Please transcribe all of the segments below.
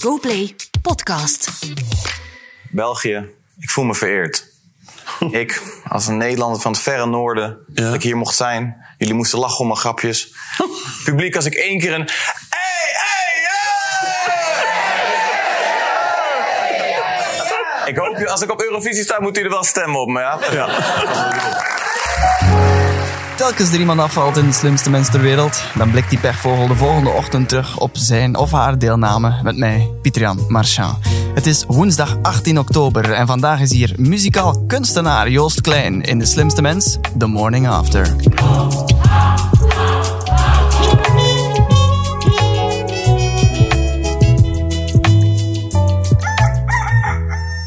GoPlay Podcast. België, ik voel me vereerd. ik, als een Nederlander van het verre noorden, dat ik hier mocht zijn. Jullie moesten lachen om mijn grapjes. Publiek, als ik één keer een... Hey, hey, hey! Ik hoop, als ik op Eurovisie sta, moet u er wel stemmen op me, ja? Telkens er iemand afvalt in de slimste mens ter wereld, dan blikt die pechvogel de volgende ochtend terug op zijn of haar deelname met mij, Pietrian Marchand. Het is woensdag 18 oktober en vandaag is hier muzikaal kunstenaar Joost Klein in de slimste mens The Morning After.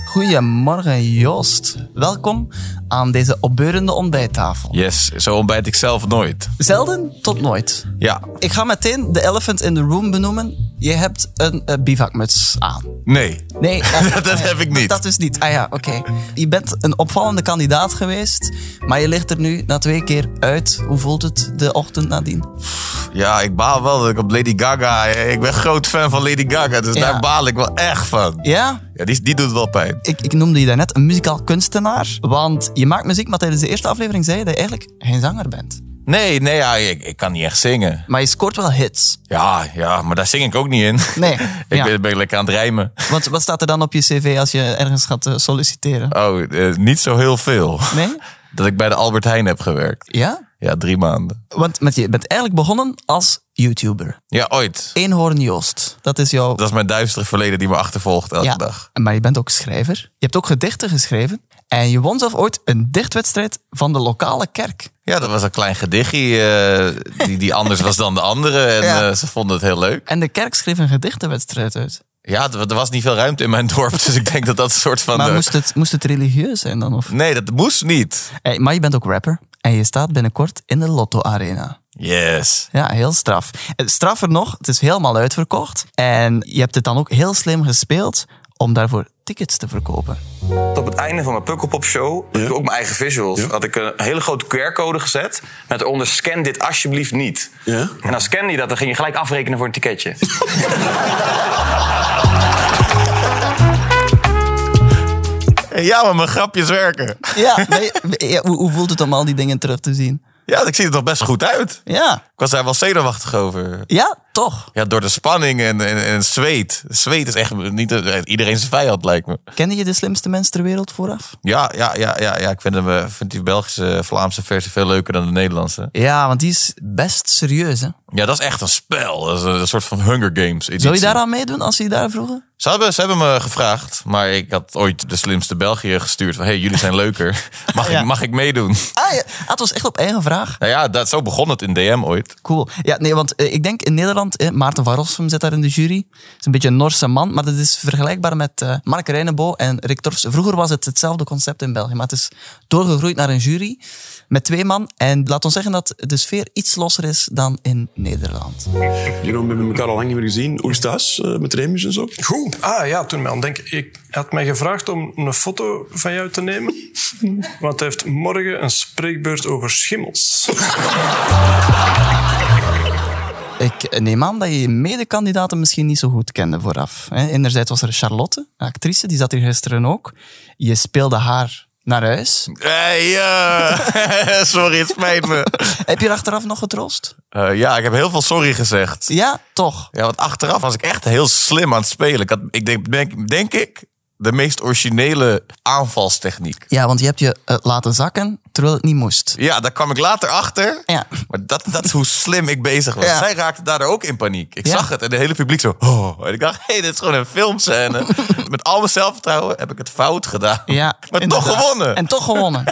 Goedemorgen Joost, welkom aan deze opbeurende ontbijttafel. Yes, zo ontbijt ik zelf nooit. Zelden tot nooit. Ja. Ik ga meteen de elephant in the room benoemen. Je hebt een eh, bivakmuts aan. Nee. Nee, eh, Dat heb ik niet. Dat is niet. Ah ja, oké. Je bent een opvallende kandidaat geweest, maar je ligt er nu na twee keer uit. Hoe voelt het de ochtend nadien? Ja, ik baal wel dat ik op Lady Gaga... eh, Ik ben groot fan van Lady Gaga, dus Ja. daar baal ik wel echt van. Ja, Ja, die, die doet wel pijn. ik, ik noemde je daarnet een muzikaal kunstenaar, want je maakt muziek, maar tijdens de eerste aflevering zei je dat je eigenlijk geen zanger bent. Nee, nee, ja, ik, ik kan niet echt zingen. Maar je scoort wel hits. Ja, ja, maar daar zing ik ook niet in. Nee, ik ja. ben, ben lekker aan het rijmen. Want wat staat er dan op je cv als je ergens gaat eh, solliciteren? Oh, eh, niet zo heel veel. Nee? Dat ik bij de Albert Heijn heb gewerkt. Ja? Ja, drie maanden. Want met, je bent eigenlijk begonnen als YouTuber. Ja, ooit. Eenhoorn Joost, dat is jouw... Dat is mijn duistere verleden die me achtervolgt elke ja, dag. maar je bent ook schrijver. Je hebt ook gedichten geschreven. En je won zelf ooit een dichtwedstrijd van de lokale kerk. Ja, dat was een klein gedichtje eh, die, die anders was dan de andere. En Ja. eh, ze vonden het heel leuk. En de kerk schreef een gedichtenwedstrijd uit. Ja, er er was niet veel ruimte in mijn dorp. Dus ik denk dat dat een soort van... Maar eh, moest het, moest het religieus zijn dan? Of? Nee, dat moest niet. Hey, maar je bent ook rapper. En je staat binnenkort in de Lotto Arena. Yes. Ja, heel straf. Eh, Straffer nog, het is helemaal uitverkocht. En je hebt het dan ook heel slim gespeeld om daarvoor tickets te verkopen. Op het einde van mijn Pukkelpop show, doe ik ook mijn eigen visuals, had ik een hele grote QR-code gezet met eronder scan dit alsjeblieft niet. En dan scan je dat, dan ging je gelijk afrekenen voor een ticketje. Ja, maar mijn grapjes werken. Ja, maar je- ja, hoe, hoe voelt het om al die dingen terug te zien? Ja, ik zie er nog best goed uit. Ja, Ik was daar wel zenuwachtig over. ja, toch. Ja, door de spanning en, en, en het zweet. Zweet is echt niet eh, iedereen zijn vijand, lijkt me. Kende je de slimste mens ter wereld vooraf? Ja, ja, ja, ja, ja. ik vind, hem, eh, vind die Belgische, Vlaamse versie veel leuker dan de Nederlandse. Ja, want die is best serieus, hè? Ja, dat is echt een spel. Dat is een, een soort van Hunger Games editie. Zou je daar aan meedoen als ze je daar vroegen? Ze hebben, ze hebben me gevraagd, maar ik had ooit de slimste België gestuurd. Van, hey, jullie zijn leuker. Mag, Ja. ik, mag ik meedoen? Ah, ja. ah, het was echt op eigen vraag. Nou ja, dat, zo begon het in DM ooit. Cool. Ja, nee, want eh, ik denk in Nederland, eh, Maarten van Rossum zit daar in de jury. is een beetje een Norse man, maar dat is vergelijkbaar met eh, Mark Reinebo en Rick Torfs. Vroeger was het hetzelfde concept in België, maar het is doorgegroeid naar een jury met twee man. En laat ons zeggen dat de sfeer iets losser is dan in Nederland. Jeroen, we hebben elkaar al lang niet meer gezien. Hoe is het thuis eh, met Remus en zo? Goed. Ah ja, toen mij aan het denken. Ik hij had mij gevraagd om een foto van jou te nemen. Want hij heeft morgen een spreekbeurt over schimmels. Ik neem aan dat je je medekandidaten misschien niet zo goed kende vooraf. Hè? Enerzijds was er Charlotte, een actrice, die zat hier gisteren ook. Je speelde haar naar huis. Hey, eh, sorry, het spijt me. Heb je er achteraf nog getroost? Eh, ja, ik heb heel veel sorry gezegd. Ja, toch. Ja, want achteraf was ik echt heel slim aan het spelen. Ik, had, ik denk, denk, denk ik, de meest originele aanvalstechniek. Ja, want je hebt je eh, laten zakken terwijl het niet moest. Ja, daar kwam ik later achter. Ja. Maar dat, dat is hoe slim ik bezig was. Ja. Zij raakte daardoor ook in paniek. Ik Ja. zag het en de hele publiek zo... Oh. En ik dacht, hé, hey, dit is gewoon een filmscène. Met al mijn zelfvertrouwen heb ik het fout gedaan. Ja, maar inderdaad. toch gewonnen. En toch gewonnen.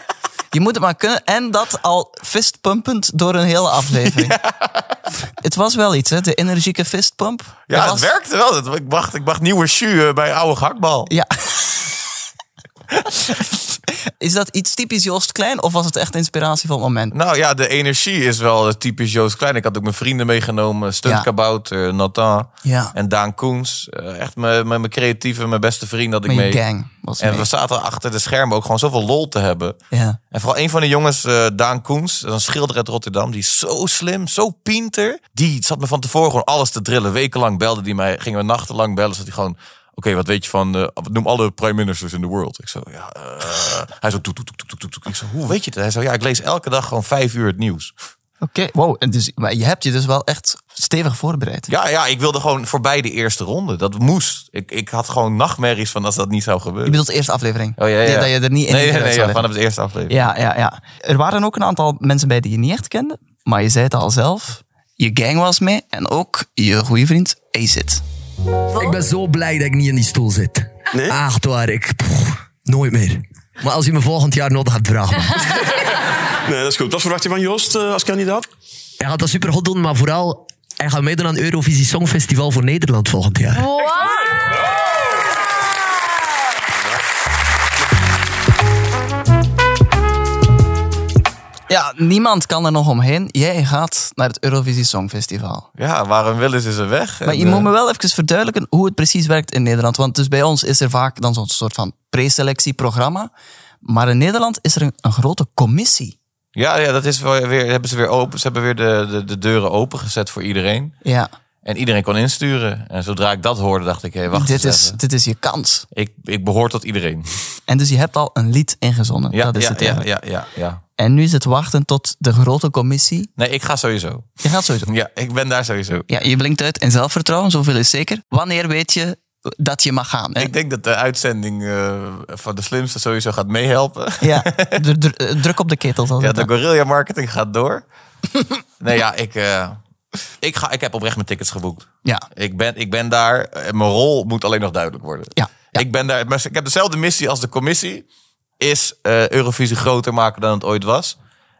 Je moet het maar kunnen. En dat al fistpumpend door een hele aflevering. Het was wel iets, hè? De energieke fistpump. ja, Dat het was- eh, werkte wel. Dat- Ik bracht, ik bracht nieuwe shoes bij oude gehaktbal. Ja. Is dat iets typisch Joost Klein of was het echt inspiratie van het moment? Nou ja, de energie is wel typisch Joost Klein. Ik had ook mijn vrienden meegenomen. Ja. Stuntkabouter, Nathan Ja. en Daan Koens. Eh, Echt mijn, mijn, mijn creatieve, mijn beste vriend had ik Met je mee. gang was En mee. we zaten achter de schermen ook gewoon zoveel lol te hebben. Ja. En vooral een van de jongens, eh, Daan Koens, dat is een schilder uit Rotterdam. Die is zo slim, zo pinter. Die zat me van tevoren gewoon alles te drillen. Wekenlang belde die mij, gingen we nachtenlang bellen. Zat hij gewoon, oké, wat weet je van, eh, noem alle prime ministers in the world. Ik zo, ja, eh. hij zo, toet, toet, toet, toet, toet, toet. Ik zo, hoe weet je dat? Hij zo, ja, ik lees elke dag gewoon vijf uur het nieuws. Oké, wow. En dus, maar je hebt je dus wel echt stevig voorbereid. Ja, ja, ik wilde gewoon voorbij de eerste ronde. Dat moest. Ik, ik had gewoon nachtmerries van als dat niet zou Je gebeuren. bedoelt de eerste aflevering. Oh, ja, ja, Die- ja. Dat je er niet in Nee, nee, gewerkt nee, zou ja, hebben. vanaf de eerste aflevering. Ja, ja, ja. Er waren ook een aantal mensen bij die je niet echt kende. Maar je zei het al zelf. Je gang was mee. En ook je goede vriend Acid. Ik ben zo blij dat ik niet in die stoel zit. Nee? Echt waar, ik... pff, nooit meer. Maar als je me volgend jaar nodig hebt, vraag me. Nee, dat is goed. Wat verwacht je van Joost eh, als kandidaat? Hij gaat dat super goed doen, maar vooral... Hij gaat meedoen aan het Eurovisie Songfestival voor Nederland volgend jaar. Ja, niemand kan er nog omheen. Jij gaat naar het Eurovisie Songfestival. Ja, waarom willen ze ze weg? Maar En, je eh, moet me wel even verduidelijken hoe het precies werkt in Nederland. Want dus bij ons is er vaak dan zo'n soort van preselectieprogramma. Maar in Nederland is er een, een grote commissie. Ja, ja dat is wel weer, hebben ze weer open. Ze hebben weer de, de, de deuren opengezet voor iedereen. Ja, En iedereen kon insturen. En zodra ik dat hoorde, dacht ik, hé, wacht dit eens is, even. dit is je kans. Ik, ik behoor tot iedereen. En dus je hebt al een lied ingezonden. Ja, dat is ja, het ja, eigenlijk. ja, ja, ja. En nu is het wachten tot de grote commissie. Nee, ik ga sowieso. Je gaat sowieso. Ja, ik ben daar sowieso. Ja, je blinkt uit in zelfvertrouwen, zoveel is zeker. Wanneer weet je dat je mag gaan? Hè? Ik denk dat de uitzending eh, van de slimste sowieso gaat meehelpen. Ja, dr- dr- eh, druk op de ketel. zal Ja, dat de dan. guerrilla marketing gaat door. nee, ja, ik, eh, ik, ga, ik heb oprecht mijn tickets geboekt. Ja. Ik ben, ik ben daar. eh, Mijn rol moet alleen nog duidelijk worden. Ja, ja. Ik ben daar. maar Ik heb dezelfde missie als de commissie. Is eh, Eurovisie groter maken dan het ooit was.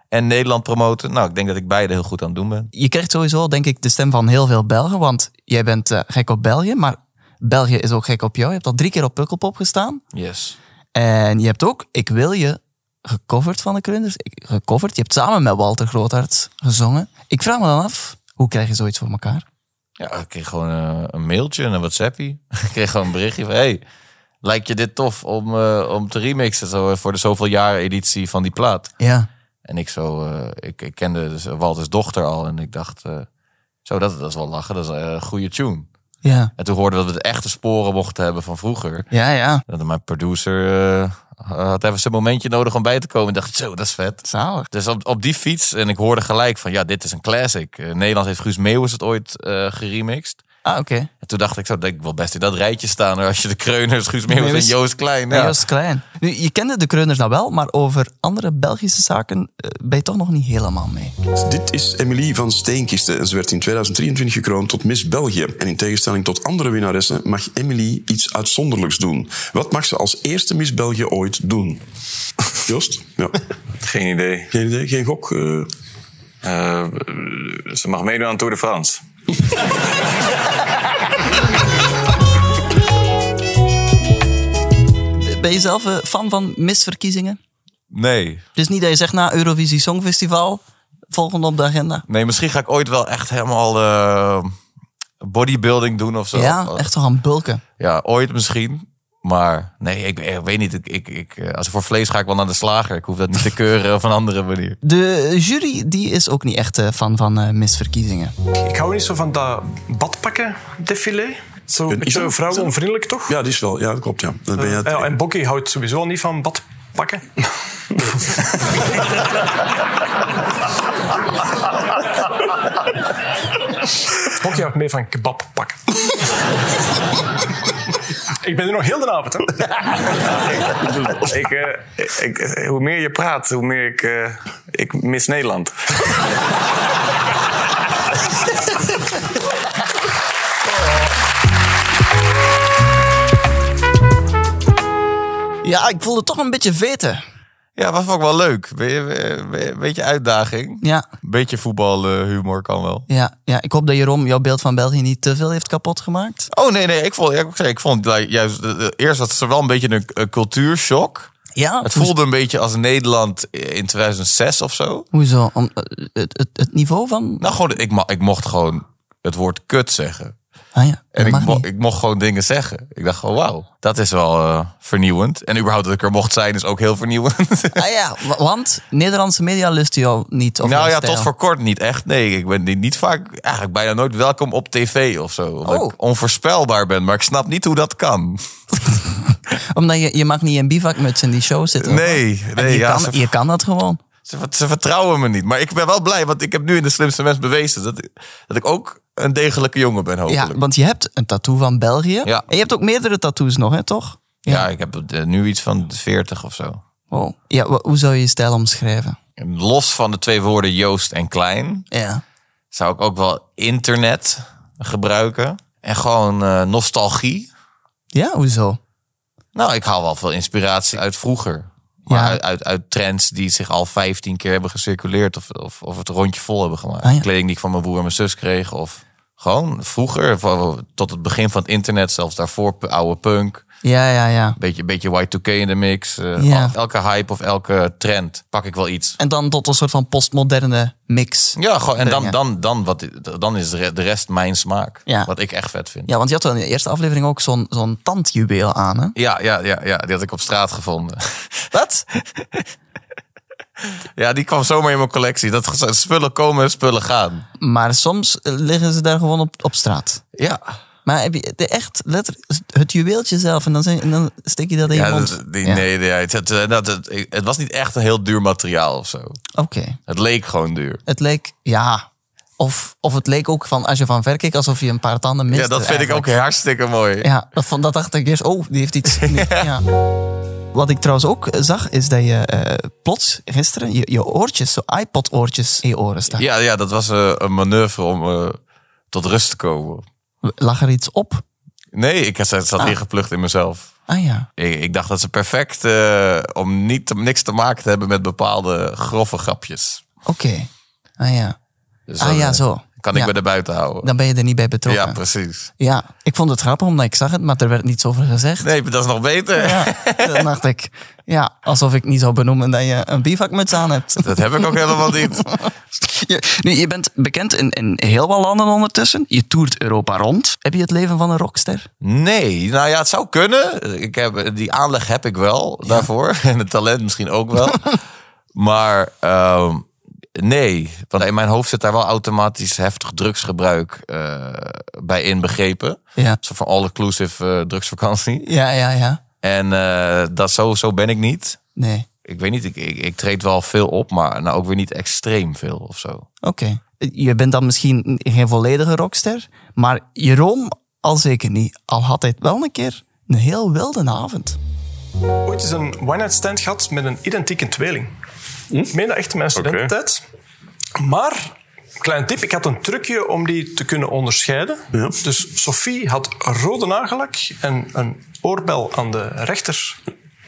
En Nederland promoten. Nou, ik denk dat ik beide heel goed aan het doen ben. Je krijgt sowieso, denk ik, de stem van heel veel Belgen. Want jij bent eh, gek op België, maar België is ook gek op jou. Je hebt al drie keer op Pukkelpop gestaan. Yes. En je hebt ook Ik Wil Je gecoverd van de Krunders. Ik- Gecoverd. Je hebt samen met Walter Groothart gezongen. Ik vraag me dan af, hoe krijg je zoiets voor elkaar? Ja, ik kreeg gewoon eh, een mailtje en een WhatsAppie. ik kreeg gewoon een berichtje van... Hey, lijkt je dit tof om, eh, om te remixen zo, eh, voor de zoveel jaar editie van die plaat? Ja. En ik zo, eh, ik, ik kende dus Walters dochter al en ik dacht, eh, zo dat, dat is wel lachen, dat is eh, een goede tune. Ja, En toen hoorden we dat we de echte sporen mochten hebben van vroeger. ja, ja. Dat mijn producer eh, had even zijn momentje nodig om bij te komen. Ik dacht, zo, dat is vet. Zalig. Dus op, op die fiets, en ik hoorde gelijk van, ja, dit is een classic. Eh, Nederland heeft Guus Meeuwis het ooit eh geremixed. Ah, oké. En toen dacht ik zo, ik wil best in dat rijtje staan. hoor, Als je de Kreuners, Guus Meeuwis en Meeuwis. Joost Klein. Nee, Ja. dat is klein. Nu, je kende de Kreuners nou wel, maar over andere Belgische zaken eh, ben je toch nog niet helemaal mee. Dit is Emily van Steenkisten en ze werd in 2023 gekroond tot Miss België. En in tegenstelling tot andere winnaressen mag Emily iets uitzonderlijks doen. Wat mag ze als eerste Miss België ooit doen? Joost? Ja. Geen idee. Geen idee, geen gok. eh. Eh, ze mag meedoen aan Tour de France. Ben je zelf eh, fan van misverkiezingen? Nee. Dus niet dat je zegt na Eurovisie Songfestival, volgende op de agenda. nee, misschien ga ik ooit wel echt helemaal eh, bodybuilding doen of zo. Oh, Ja, echt wel gaan bulken. Ja, ooit misschien. Maar nee, ik, ik weet niet. Ik, ik, ik, eh, als ik voor vlees ga, ik wel naar de slager. Ik hoef dat niet te keuren op een andere manier. De jury die is ook niet echt eh, fan van eh, misverkiezingen. Ik hou niet zo van dat badpakken defilé. Zo een beetje item? vrouwenonvriendelijk toch? Ja, die is wel. Ja, dat klopt. Eh, Ja. Dan ben je het- Ja, en Bokkie houdt sowieso niet van badpakken. Bokkie houdt meer van kebabpakken. ik ben er nog heel de avond, hè? ik, eh, ik, eh, hoe meer je praat, hoe meer ik... eh, ik mis Nederland. Ja, ik voelde toch een beetje veten. Ja, was ook wel leuk. Be- be- be- Beetje uitdaging. Ja, Beetje voetbalhumor kan wel. ja, ja, ik hoop dat Jeroen jouw beeld van België niet te veel heeft kapot gemaakt. Oh nee, nee, ik vond, ja, ik, zei, ik vond like, juist, eh, eh, eerst had ze wel een beetje een eh, cultuurshock. Ja, Het voelde een beetje als Nederland in 2006 of zo. Hoezo? Om, eh, het, het, het niveau van... Nou, gewoon, ik, ma- ik mocht gewoon het woord kut zeggen. ah ja, dat En ik, mag mo- niet. ik mocht gewoon dingen zeggen. Ik dacht gewoon, wauw, dat is wel eh, vernieuwend. En überhaupt dat ik er mocht zijn is ook heel vernieuwend. Ah ja, wa- want Nederlandse media lust jou niet. Of nou jouw ja, stijl. tot voor kort niet echt. Nee, ik ben niet, niet vaak, eigenlijk bijna nooit welkom op tv of zo. Omdat Oh. ik onvoorspelbaar ben, maar ik snap niet hoe dat kan. Omdat je, je mag niet in bivakmuts in die show zitten. Nee, En nee je, ja, kan, ze, je kan dat gewoon. ze, ze vertrouwen me niet. Maar ik ben wel blij, want ik heb nu in de slimste mens bewezen dat, ik- dat ik ook een degelijke jongen ben, hopelijk. Ja, want je hebt een tattoo van België. Ja. En je hebt ook meerdere tattoos nog, hè, toch? Ja, ik heb eh, nu iets van 40 of zo. Wow. Ja, wa- hoe zou je je stijl omschrijven? En Los van de twee woorden Joost en Klein, Ja. zou ik ook wel internet gebruiken. En gewoon eh, nostalgie. Ja, hoezo? Nou, ik haal wel veel inspiratie uit vroeger. Maar Ja. uit, uit, uit trends die zich al 15 keer hebben gecirculeerd. Of, of, of het rondje vol hebben gemaakt. Ah, ja. Kleding die ik van mijn broer en mijn zus kreeg. Of gewoon vroeger, van- tot het begin van het internet. Zelfs daarvoor, p- oude punk. Ja, ja, ja. Beetje, beetje Y2K in de mix. Eh, Ja. al- elke hype of elke trend pak ik wel iets. En dan tot een soort van postmoderne mix. Ja, gewoon, en dan, brengen. dan, dan, wat, dan is de re- de rest mijn smaak. Ja. Wat ik echt vet vind. Ja, want je had wel in de eerste aflevering ook zo'n zo'n tandjuweel aan, hè? Ja, ja, ja, ja, die had ik op straat gevonden. Wat? ja, die kwam zomaar in mijn collectie. Dat ge- spullen komen en spullen gaan. Maar soms eh, liggen ze daar gewoon op, op straat. Ja, Maar heb je de echt letterlijk het juweeltje zelf en dan, zijn, en dan steek je dat in je ja mond? dat- die, Ja. nee, nee, het, het, eh, dat- het, het was niet echt een heel duur materiaal of zo. Oké. Het leek gewoon duur. Het leek, ja. Of, of het leek ook van als je van ver keek alsof je een paar tanden miste. Ja, dat vind ik ook eigenlijk. hartstikke mooi. Ja, dat, vond, dat dacht ik eerst, oh, die heeft iets. niet- ja. Wat ik trouwens ook eh, zag, is dat je eh, plots gisteren je, je oortjes, zo iPod-oortjes in je oren staan. Ja, ja, dat was eh, een manoeuvre om eh, tot rust te komen. Lag er iets op? Nee, ik zat, zat ingeplucht in mezelf. Ah ja. Ik, ik dacht dat ze perfect eh, om niet, te- niks te maken te hebben met bepaalde grove grapjes. Oké. Ah ja. Dus Ah dan, ja, eh, zo. Kan ik Ja. me er buiten houden. Dan ben je er niet bij ja, betrokken. Ja, precies. ik vond het grappig omdat ik zag het, maar er werd niets over gezegd. Nee, maar dat is nog beter. Ja, dan dacht ik, ja, alsof ik niet zou benoemen dat je een bivakmuts aan hebt. Dat heb ik ook helemaal niet. Je, nu, je bent bekend in, in heel wat landen ondertussen. Je toert Europa rond. Heb je het leven van een rockster? Nee, nou ja, het zou kunnen. Ik heb, die aanleg heb ik wel daarvoor. En het talent misschien ook wel. maar ehm, nee, want in mijn hoofd zit daar wel automatisch heftig drugsgebruik eh, bij inbegrepen. Ja. Zo van all-inclusive eh, drugsvakantie. Ja, ja, ja. En eh, dat zo, zo ben ik niet. Nee. Ik weet niet, ik, ik, ik treed wel veel op, maar nou ook weer niet extreem veel of zo. Oké. Eh, Je bent dan misschien geen volledige rockster. Maar Jeroen al zeker niet. Al had hij het wel een keer een heel wilde avond. ooit eens een one-night stand gehad met een identieke tweeling. Ik meen dat echt in mijn studententijd. Maar, klein tip, ik had een trucje om die te kunnen onderscheiden. Dus Sophie had rode nagellak en een oorbel aan de rechter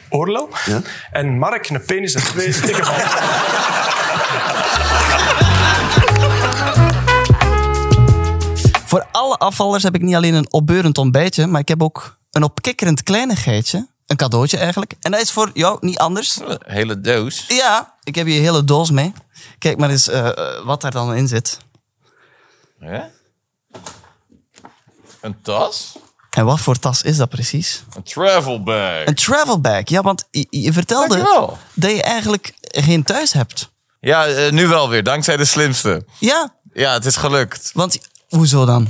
oorlel. En Mark een penis en twee dikke ballen. Voor alle afvallers heb ik niet alleen een opbeurend ontbijtje, maar ik heb ook een opkikkerend kleinigheidje. Een cadeautje eigenlijk. En dat is voor jou niet anders. Hele doos. Ja, ik heb hier een hele doos mee. Kijk maar eens eh, eh, wat daar dan in zit. Hè? Een tas? En wat voor tas is dat precies? Een travel bag. Een travel bag. Ja, want je, je vertelde Dankjewel. dat je eigenlijk geen thuis hebt. Ja, eh, nu wel weer, dankzij de slimste. Ja, Ja, het is gelukt. want hoezo dan?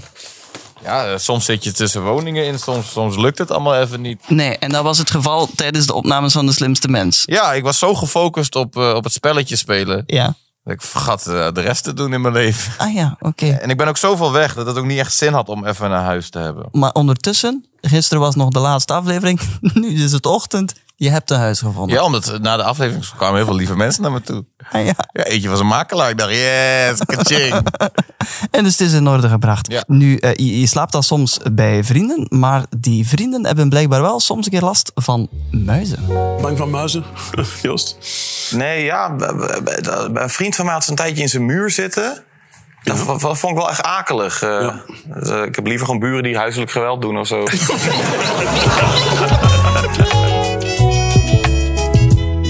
Ja, eh, soms zit je tussen woningen in, soms, soms lukt het allemaal even niet. Nee, en dat was het geval tijdens de opnames van De Slimste Mens. Ja, ik was zo gefocust op, eh, op het spelletje spelen. Ja. Dat ik vergat eh, de rest te doen in mijn leven. Ah ja, oké. En ik ben ook zoveel weg dat het ook niet echt zin had om even naar huis te hebben. Maar ondertussen, gisteren was nog de laatste aflevering. nu is het ochtend. Je hebt een huis gevonden. Ja, omdat eh, na de aflevering kwamen heel veel lieve mensen naar me toe. Ah, ja. Ja, eentje was een makelaar. Ik dacht, yes, kaching. En dus het is in orde gebracht. Ja. Nu, eh, je, je slaapt dan soms bij vrienden, maar die vrienden hebben blijkbaar wel soms een keer last van muizen. Bang van muizen, Joost? Nee, ja, b- b- b- dat- een vriend van mij had een tijdje in zijn muur zitten. Dat, v- v- vond ik wel echt akelig. eh. Dus, eh, ik heb liever gewoon buren die huiselijk geweld doen of zo.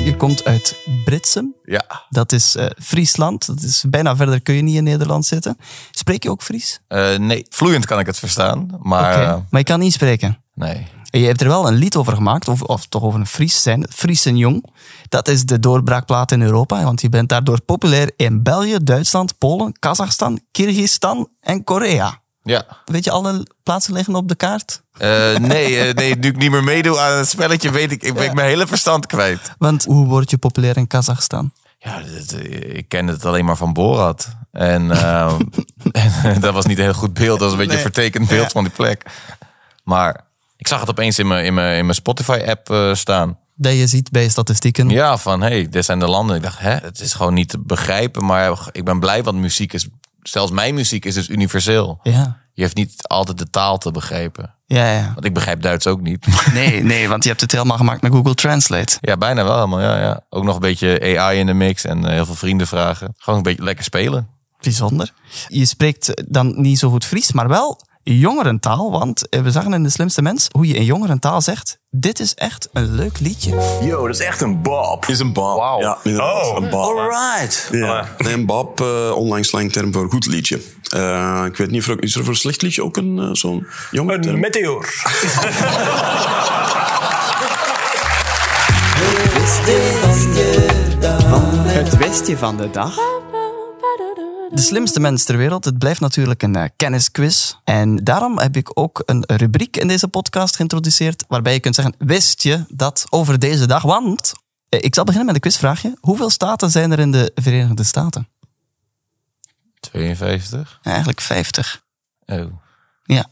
Je komt uit Britsum. Ja. Dat is eh, Friesland. Dat is bijna verder kun je niet in Nederland zitten. Spreek je ook Fries? Eh, nee, vloeiend kan ik het verstaan. Maar Oké. eh, Maar je kan niet spreken. nee. En je hebt er wel een lied over gemaakt, of, of toch over een Fries zijn. Fries en Jong. Dat is de doorbraakplaat in Europa, want je bent daardoor populair in België, Duitsland, Polen, Kazachstan, Kyrgyzstan en Korea. Ja. Weet je alle plaatsen liggen op de kaart? Eh, nee, eh, nee, nu ik niet meer meedoe aan het spelletje, weet ik, ik ben ik mijn hele verstand kwijt. Want hoe word je populair in Kazachstan? Ja, dat, eh, ik ken het alleen maar van Borat. En, ehm, en eh, dat was niet een heel goed beeld. Dat was een beetje een vertekend beeld van die plek. Maar ik zag het opeens in mijn, in mijn, in mijn Spotify-app eh, staan. Dat je ziet bij statistieken. Ja, van hé, hey, dit zijn de landen. Ik dacht, hè, het is gewoon niet te begrijpen. Maar ik ben blij, want muziek is... Zelfs mijn muziek is dus universeel. Ja. Je hebt niet altijd de taal te begrijpen. Ja, ja. Want ik begrijp Duits ook niet. Nee, nee, want je hebt het helemaal gemaakt met Google Translate. Ja, bijna wel helemaal. Ja, ja. Ook nog een beetje AI in de mix en eh, heel veel vrienden vragen. Gewoon een beetje lekker spelen. Bijzonder. Je spreekt dan niet zo goed Fries, maar wel jongerentaal. Want eh, we zagen in De Slimste Mens hoe je in jongerentaal zegt... Dit is echt een leuk liedje. Yo, dat is echt een bob. Is een bab. Wauw. Ja, inderdaad, Oh, een bab. alright. Ja. Nee, een bab, eh, onlangs slangterm voor goed liedje. Eh, ik weet niet, of er ook- is er voor slecht liedje ook een eh, zo'n jonge Een term? meteor. Het westje van de dag. De Slimste Mens ter wereld. Het blijft natuurlijk een eh, kennisquiz. En daarom heb ik ook een rubriek in deze podcast geïntroduceerd... waarbij je kunt zeggen, wist je dat over deze dag? Want... eh, Ik zal beginnen met een quizvraagje. Hoeveel staten zijn er in de Verenigde Staten? 52. Ja, Eigenlijk 50. Oh. Ja.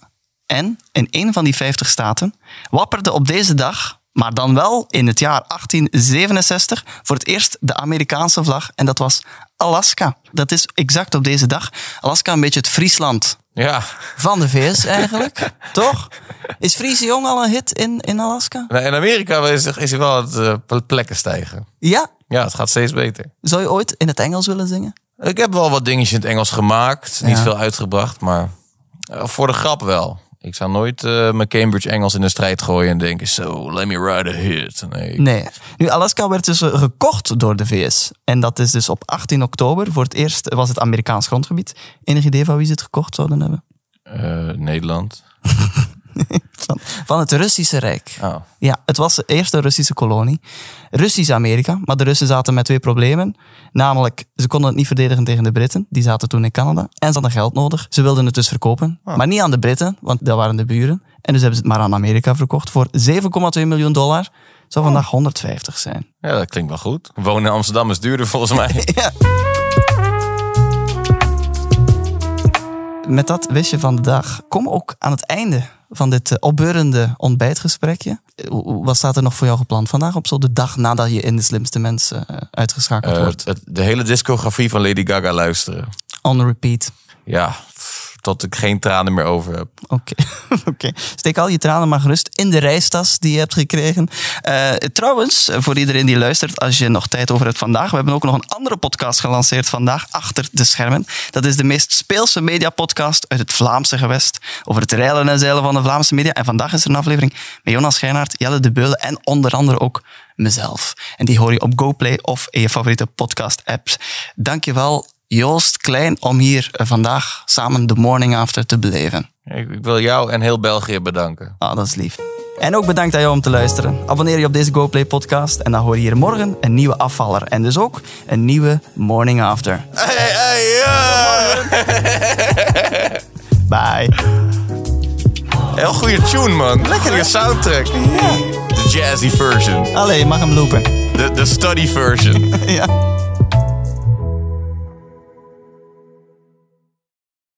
En in een van die 50 staten wapperde op deze dag, maar dan wel in het jaar 1867, voor het eerst de Amerikaanse vlag. En dat was Alaska. Dat is exact op deze dag. Alaska, een beetje het Friesland Ja. van de VS eigenlijk. Toch? Is Friese Jong al een hit in, in Alaska? Nou, in Amerika is, is hij wel aan het eh, plekken stijgen. Ja. Ja, het gaat steeds beter. Zou je ooit in het Engels willen zingen? Ik heb wel wat dingetjes in het Engels gemaakt. Niet veel uitgebracht, maar eh, voor de grap wel. Ik zou nooit eh, mijn Cambridge Engels in de strijd gooien en denken... So, let me ride a hit. Nee. Nee. Nu, Alaska werd dus eh, gekocht door de VS. En dat is dus op 18 oktober. Voor het eerst was het Amerikaans grondgebied. Enig idee van wie ze het gekocht zouden hebben? Eh, Nederland. Van, van het Russische Rijk. Oh. Ja, het was eerst een Russische kolonie. Russisch-Amerika, maar de Russen zaten met twee problemen. Namelijk, ze konden het niet verdedigen tegen de Britten. Die zaten toen in Canada. En ze hadden geld nodig. Ze wilden het dus verkopen. Maar niet aan de Britten, want dat waren de buren. En dus hebben ze het maar aan Amerika verkocht voor 7,2 miljoen dollar. Zou vandaag 150 zijn. Ja, dat klinkt wel goed. Wonen in Amsterdam is duurder volgens mij. Met dat wistje van de dag kom ook aan het einde van dit eh, opbeurende ontbijtgesprekje. Eh, hoe- hoe- Wat staat er nog voor jou gepland vandaag op zo de dag nadat je in de slimste mensen eh, uitgeschakeld Eh, wordt? het- de hele discografie van Lady Gaga luisteren. On repeat. Ja, pff, tot ik geen tranen meer over heb. Oké, oké. steek al je tranen maar gerust in de reistas die je hebt gekregen. Eh, trouwens, voor iedereen die luistert, als je nog tijd over hebt vandaag, we hebben ook nog een andere podcast gelanceerd vandaag, Achter de Schermen. Dat is de meest speelse mediapodcast uit het Vlaamse gewest, over het reilen en zeilen van de Vlaamse media. En vandaag is er een aflevering met Jonas Geinaert, Jelle de Beulen en onder andere ook mezelf. En die hoor je op GoPlay of in je favoriete podcast-app. Dankjewel, Joost Klein, om hier eh, vandaag samen de morning after te beleven. Ik, ik wil jou en heel België bedanken. Ah, dat is lief. En ook bedankt aan jou om te luisteren. Abonneer je op deze GoPlay podcast en dan hoor je hier morgen een nieuwe afvaller. En dus ook een nieuwe Morning After. Hey, hey, ja. Bye. Heel goede tune, man. Lekkere soundtrack. De jazzy version. Allee, je mag hem lopen. De, de study version. Ja.